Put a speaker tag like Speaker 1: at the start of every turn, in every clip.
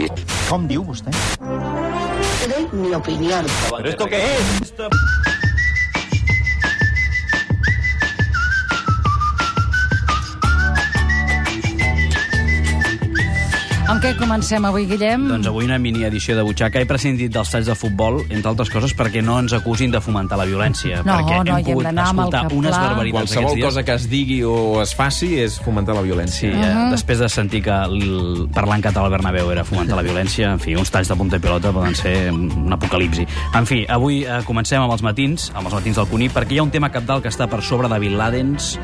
Speaker 1: I... Com diu vostè?
Speaker 2: Tendré mi opinión.
Speaker 3: ¿Pero esto qué es?
Speaker 4: Amb què comencem avui, Guillem?
Speaker 5: Doncs avui una miniedició de butxaca. He prescindit dels talls de futbol, entre altres coses, perquè no ens acusin de fomentar la violència.
Speaker 4: No,
Speaker 5: perquè
Speaker 4: no, hi
Speaker 5: hem
Speaker 4: hem
Speaker 5: pogut
Speaker 4: d'anar amb el
Speaker 5: escoltar
Speaker 4: cap
Speaker 5: unes
Speaker 4: clar.
Speaker 5: barbaritats
Speaker 6: Qualsevol
Speaker 5: aquests dies.
Speaker 6: cosa que es digui o es faci és fomentar la
Speaker 5: Sí,
Speaker 6: violència.
Speaker 5: eh,
Speaker 4: Uh-huh.
Speaker 5: després de sentir que el- parlar en català al Bernabéu era fomentar la violència, en fi, uns talls de punta i pilota poden ser un un apocalipsi. En fi, avui eh, comencem amb els matins, amb els matins del Cuní, perquè hi ha un tema capdalt que està per sobre de Bin Ladens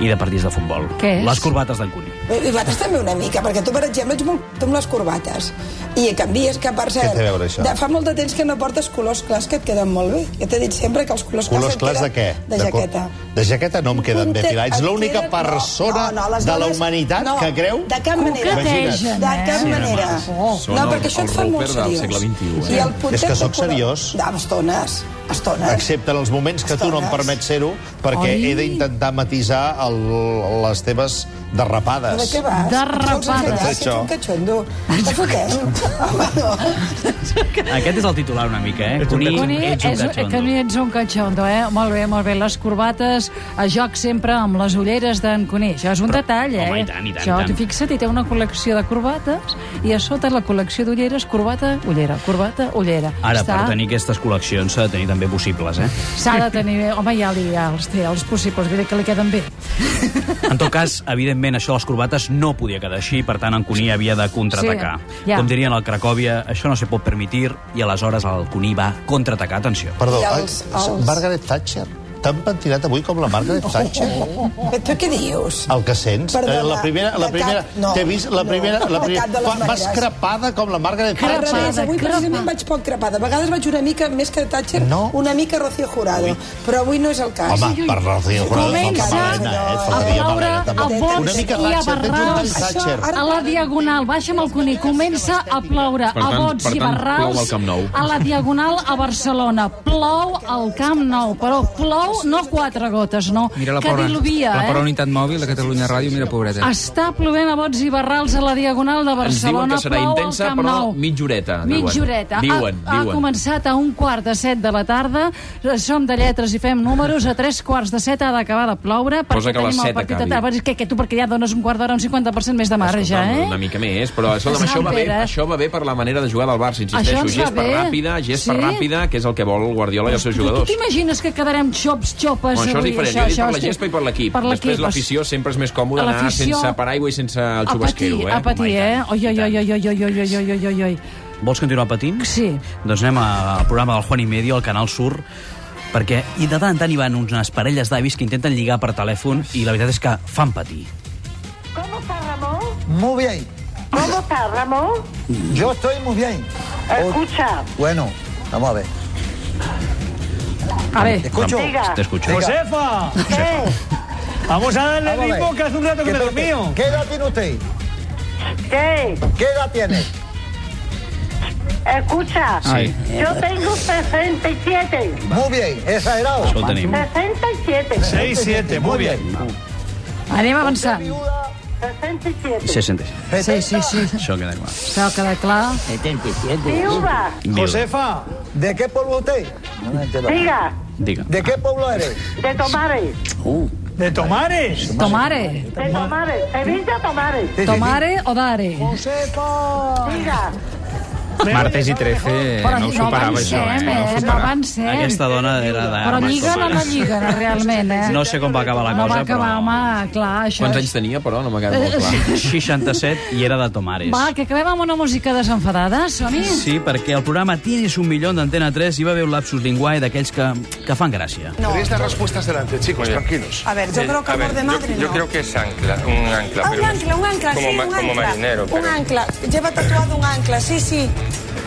Speaker 5: i de partits de futbol.
Speaker 4: Què és?
Speaker 5: Les corbates d'en Cuní.
Speaker 7: Nosaltres també una mica, perquè tu, per exemple, ets molt amb les corbates. I canvies que, per cert,
Speaker 8: Què té a veure això?
Speaker 7: De, fa molt de temps que no portes colors clars que et queden molt bé. Jo t'he dit sempre que els colors,
Speaker 8: Colors
Speaker 7: clars
Speaker 8: clars
Speaker 7: et
Speaker 8: de què?
Speaker 7: queden de jaqueta.
Speaker 8: co- De jaqueta no em queden bé,
Speaker 7: Te-
Speaker 8: Pilar. Ets
Speaker 7: et
Speaker 8: l'única
Speaker 7: queden- no,
Speaker 8: persona
Speaker 7: no, no, les
Speaker 8: de la
Speaker 7: dones-
Speaker 8: humanitat
Speaker 7: no,
Speaker 8: que creu...
Speaker 7: De cap manera.
Speaker 4: Coquetegen,
Speaker 7: De
Speaker 4: eh?
Speaker 7: cap
Speaker 4: Sí,
Speaker 7: manera.
Speaker 4: home.
Speaker 6: Són
Speaker 7: no,
Speaker 6: el-
Speaker 7: perquè això
Speaker 6: el
Speaker 7: et fa molt
Speaker 6: roper del
Speaker 7: seriós.
Speaker 6: segle XXI, eh?
Speaker 7: I el puntet
Speaker 8: És que
Speaker 7: de
Speaker 8: sóc
Speaker 7: color-
Speaker 8: seriós.
Speaker 7: No, estones. Estones.
Speaker 8: Excepte en els moments que tu no em
Speaker 7: Estones.
Speaker 8: permets ser-ho, perquè
Speaker 4: Ai.
Speaker 8: he d'intentar matisar el, les teves
Speaker 7: De
Speaker 8: derrapades.
Speaker 7: què vas?
Speaker 4: Derrapades.
Speaker 7: Ets un catxondo. Te fotem? Home, no.
Speaker 5: Aquest és el titular una mica, eh? Cuní,
Speaker 4: Cuní,
Speaker 5: ets un
Speaker 4: és,
Speaker 5: catxondo.
Speaker 4: que ni ets un catxondo, eh? Molt bé, molt bé. Les corbates, a joc sempre amb les ulleres d'en Cuní. Això és un
Speaker 5: Però-
Speaker 4: detall, eh?
Speaker 5: home, i tant, i tant,
Speaker 4: Això,
Speaker 5: i tant.
Speaker 4: fixa't, hi té una col·lecció de corbates i a sota la col·lecció d'ulleres, corbata, ullera, corbata, ullera.
Speaker 5: Ara,
Speaker 4: Està-
Speaker 5: per tenir aquestes col·leccions s'ha de tenir també possibles, eh?
Speaker 4: S'ha de tenir bé. Home, ja, li, ja els té, els possibles. Vull dir que li queden bé.
Speaker 5: En tot cas, evidentment, això de les corbates no podia quedar així, per tant, en Cuní havia de contraatacar.
Speaker 4: Sí, ja.
Speaker 5: Com dirien al Cracòvia, això no se pot permitir, i aleshores el Cuní va contraatacar, atenció.
Speaker 8: Perdó,
Speaker 7: I
Speaker 8: ai,
Speaker 7: els- els- Oh.
Speaker 8: Margaret Thatcher? T'han pentinat avui com la Margaret Thatcher?
Speaker 7: Però tu què dius?
Speaker 8: El que sents?
Speaker 7: Perdona,
Speaker 8: Eh, la primera... La
Speaker 7: de
Speaker 8: primera
Speaker 7: cap- no,
Speaker 8: T'he vist? La
Speaker 7: no,
Speaker 8: primera...
Speaker 7: de
Speaker 8: la primera
Speaker 7: cap de les
Speaker 8: Fa- vas
Speaker 7: maneres.
Speaker 8: crepada com la Margaret
Speaker 7: Al
Speaker 4: Crepada.
Speaker 8: Thatcher?
Speaker 7: revés, avui
Speaker 4: crepa.
Speaker 7: precisament vaig poc crepada. A vegades vaig una mica més que Thatcher,
Speaker 8: No.
Speaker 7: una mica Rocío Jurado. Però avui no és el cas.
Speaker 8: Home, per Rocío Jurado et
Speaker 4: Comença
Speaker 8: falta Malena, eh? Et
Speaker 7: a
Speaker 8: faltaria
Speaker 4: ploure
Speaker 8: Malena,
Speaker 4: a
Speaker 8: també.
Speaker 4: bots
Speaker 8: Una mica
Speaker 4: i a
Speaker 8: Thatcher, tens un
Speaker 4: barrals.
Speaker 8: tall Thatcher.
Speaker 7: Això, ara-
Speaker 4: A la diagonal, baixa'm el Cuní, comença a ploure
Speaker 6: Per
Speaker 4: a
Speaker 6: tant-
Speaker 4: bots
Speaker 6: per
Speaker 4: i
Speaker 6: tant,
Speaker 4: barrals.
Speaker 6: plou al Camp Nou.
Speaker 4: A la diagonal a Barcelona. Plou al Camp Nou, però plou no quatre gotes, no.
Speaker 9: Mira la
Speaker 4: que
Speaker 9: pobra,
Speaker 4: diluvia,
Speaker 9: la pobra
Speaker 4: eh?
Speaker 9: unitat mòbil de Catalunya Ràdio, mira, pobreta.
Speaker 4: Està plovent a bots i barrals a la diagonal de
Speaker 6: Ens diuen
Speaker 4: Barcelona.
Speaker 6: que serà
Speaker 4: plou al
Speaker 6: intensa,
Speaker 4: Camp
Speaker 6: però
Speaker 4: Nou.
Speaker 6: mitja horeta, diuen.
Speaker 4: Mitja horeta.
Speaker 6: Ah, Diuen,
Speaker 4: ha,
Speaker 6: diuen.
Speaker 4: Ha començat a un quart de set de la tarda. Som de lletres i fem números. A tres quarts de set ha d'acabar de ploure. perquè
Speaker 6: Posa que a les
Speaker 4: tenim el
Speaker 6: set
Speaker 4: partit de
Speaker 6: acabi.
Speaker 4: tarda. Que, que tu perquè ja dones un quart d'hora, un 50% més de marge,
Speaker 6: Escolta'm,
Speaker 4: eh?
Speaker 6: Una mica més, però escolta'm,
Speaker 4: Sant
Speaker 6: això, va bé,
Speaker 4: Pere.
Speaker 6: això va bé per la manera de jugar del Barça,
Speaker 4: Això
Speaker 6: insisteixo.
Speaker 4: ens va
Speaker 6: Gespa
Speaker 4: bé.
Speaker 6: ràpida, gespa
Speaker 4: Sí.
Speaker 6: ràpida, que és el que vol Guardiola i els seus
Speaker 4: Tu
Speaker 6: jugadors.
Speaker 4: t'imagines que quedarem xops, xopes
Speaker 6: Bueno, això és
Speaker 4: avui?
Speaker 6: diferent, jo he dit per la
Speaker 4: estic-
Speaker 6: gespa i per l'equip. Després l'afició sempre és més còmode
Speaker 4: A
Speaker 6: anar
Speaker 4: l'afició-
Speaker 6: sense paraigua i sense el
Speaker 4: a patir,
Speaker 6: xubasquero. eh?
Speaker 4: a patir,
Speaker 6: Home, i
Speaker 4: eh?
Speaker 6: tant,
Speaker 4: Oi,
Speaker 6: i
Speaker 4: oi,
Speaker 6: tant.
Speaker 4: oi, oi, oi, oi, oi, oi, oi, oi, oi.
Speaker 5: Vols continuar patint?
Speaker 4: Ah. Sí.
Speaker 5: Doncs anem a- al programa del Juan i Medio, al Canal Sur, perquè i de tant en tant hi van unes parelles d'avis que intenten lligar per telèfon i la veritat és que fan patir.
Speaker 10: ¿Cómo está Ramón?
Speaker 9: Muy bien,
Speaker 10: ¿Cómo está Ramón?
Speaker 9: yo estoy muy bien.
Speaker 10: Escucha,
Speaker 9: Bueno, vamos a ver.
Speaker 4: A veure,
Speaker 9: Escucho.
Speaker 10: diga,
Speaker 5: T'escucho.
Speaker 3: ¡Josefa!
Speaker 10: ¿qué?
Speaker 3: Vamos a darle
Speaker 9: Vamos a ver.
Speaker 3: ritmo, que hace un rato que me dormí.
Speaker 9: ¿Qué edad tiene usted?
Speaker 10: ¿Qué?
Speaker 9: ¿Qué edad tiene?
Speaker 10: Escucha,
Speaker 5: Sí.
Speaker 10: yo tengo 67.
Speaker 9: Muy bien, exagerado.
Speaker 5: Això ho tenim.
Speaker 10: 67.
Speaker 3: 6-7, muy bien.
Speaker 4: anem avançant.
Speaker 10: 67.
Speaker 5: 60.
Speaker 4: Sí, sí, sí.
Speaker 5: Això queda clar.
Speaker 4: Això queda clar.
Speaker 10: Viuda,
Speaker 3: Josefa,
Speaker 9: ¿De qué pueblo usted?
Speaker 10: diga,
Speaker 5: Digue.
Speaker 9: ¿De qué pueblo eres?
Speaker 10: de Tomares.
Speaker 3: de Tomares.
Speaker 4: Tomare.
Speaker 10: De Tomares. Sevilla Tomares.
Speaker 4: Tomare o dare.
Speaker 10: Diga,
Speaker 6: Martes i 13
Speaker 4: no ho superava, això, eh? No ho superava. Avancem.
Speaker 5: Aquesta dona era
Speaker 6: Ah,
Speaker 5: de...
Speaker 4: Però lliguen o no lliguen, realment, eh?
Speaker 5: Ah, No sé com va acabar la
Speaker 4: No va
Speaker 5: cosa,
Speaker 4: acabar, home, clar, això...
Speaker 6: Quants
Speaker 4: és-
Speaker 6: anys tenia, però? No m'ha quedat molt clar.
Speaker 5: però... 67 i era de Tomares.
Speaker 4: Va, que acabem amb una música desenfadada, som-hi?
Speaker 5: Sí, perquè el programa Tienes un millón d'Antena 3 hi va haver un lapsus linguae d'aquells que, que fan gràcia.
Speaker 7: No.
Speaker 11: Tenéis las respuestas delante, chicos, tranquilos.
Speaker 7: A ver, yo creo que amor de madre no.
Speaker 3: que es ancla, un ancla.
Speaker 7: Ah, un ancla, un ancla, sí, un ancla. Un ancla. Lleva tatuado un ancla, sí, sí.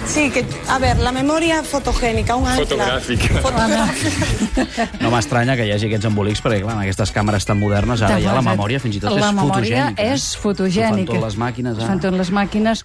Speaker 7: Sí, que, a ver, la memoria fotogénica, un ancla.
Speaker 3: Fotográfica.
Speaker 7: Fotográfica.
Speaker 5: No m'estranya que hi hagi aquests embolics, perquè clar, amb aquestes càmeres tan modernes ara ja la memòria fins i tot
Speaker 4: la
Speaker 5: és
Speaker 4: memòria
Speaker 5: fotogènica.
Speaker 4: és
Speaker 5: S'ho
Speaker 4: fotogènica.
Speaker 5: fan tot les màquines,
Speaker 4: S'ho
Speaker 5: ara.
Speaker 4: fan tot les màquines.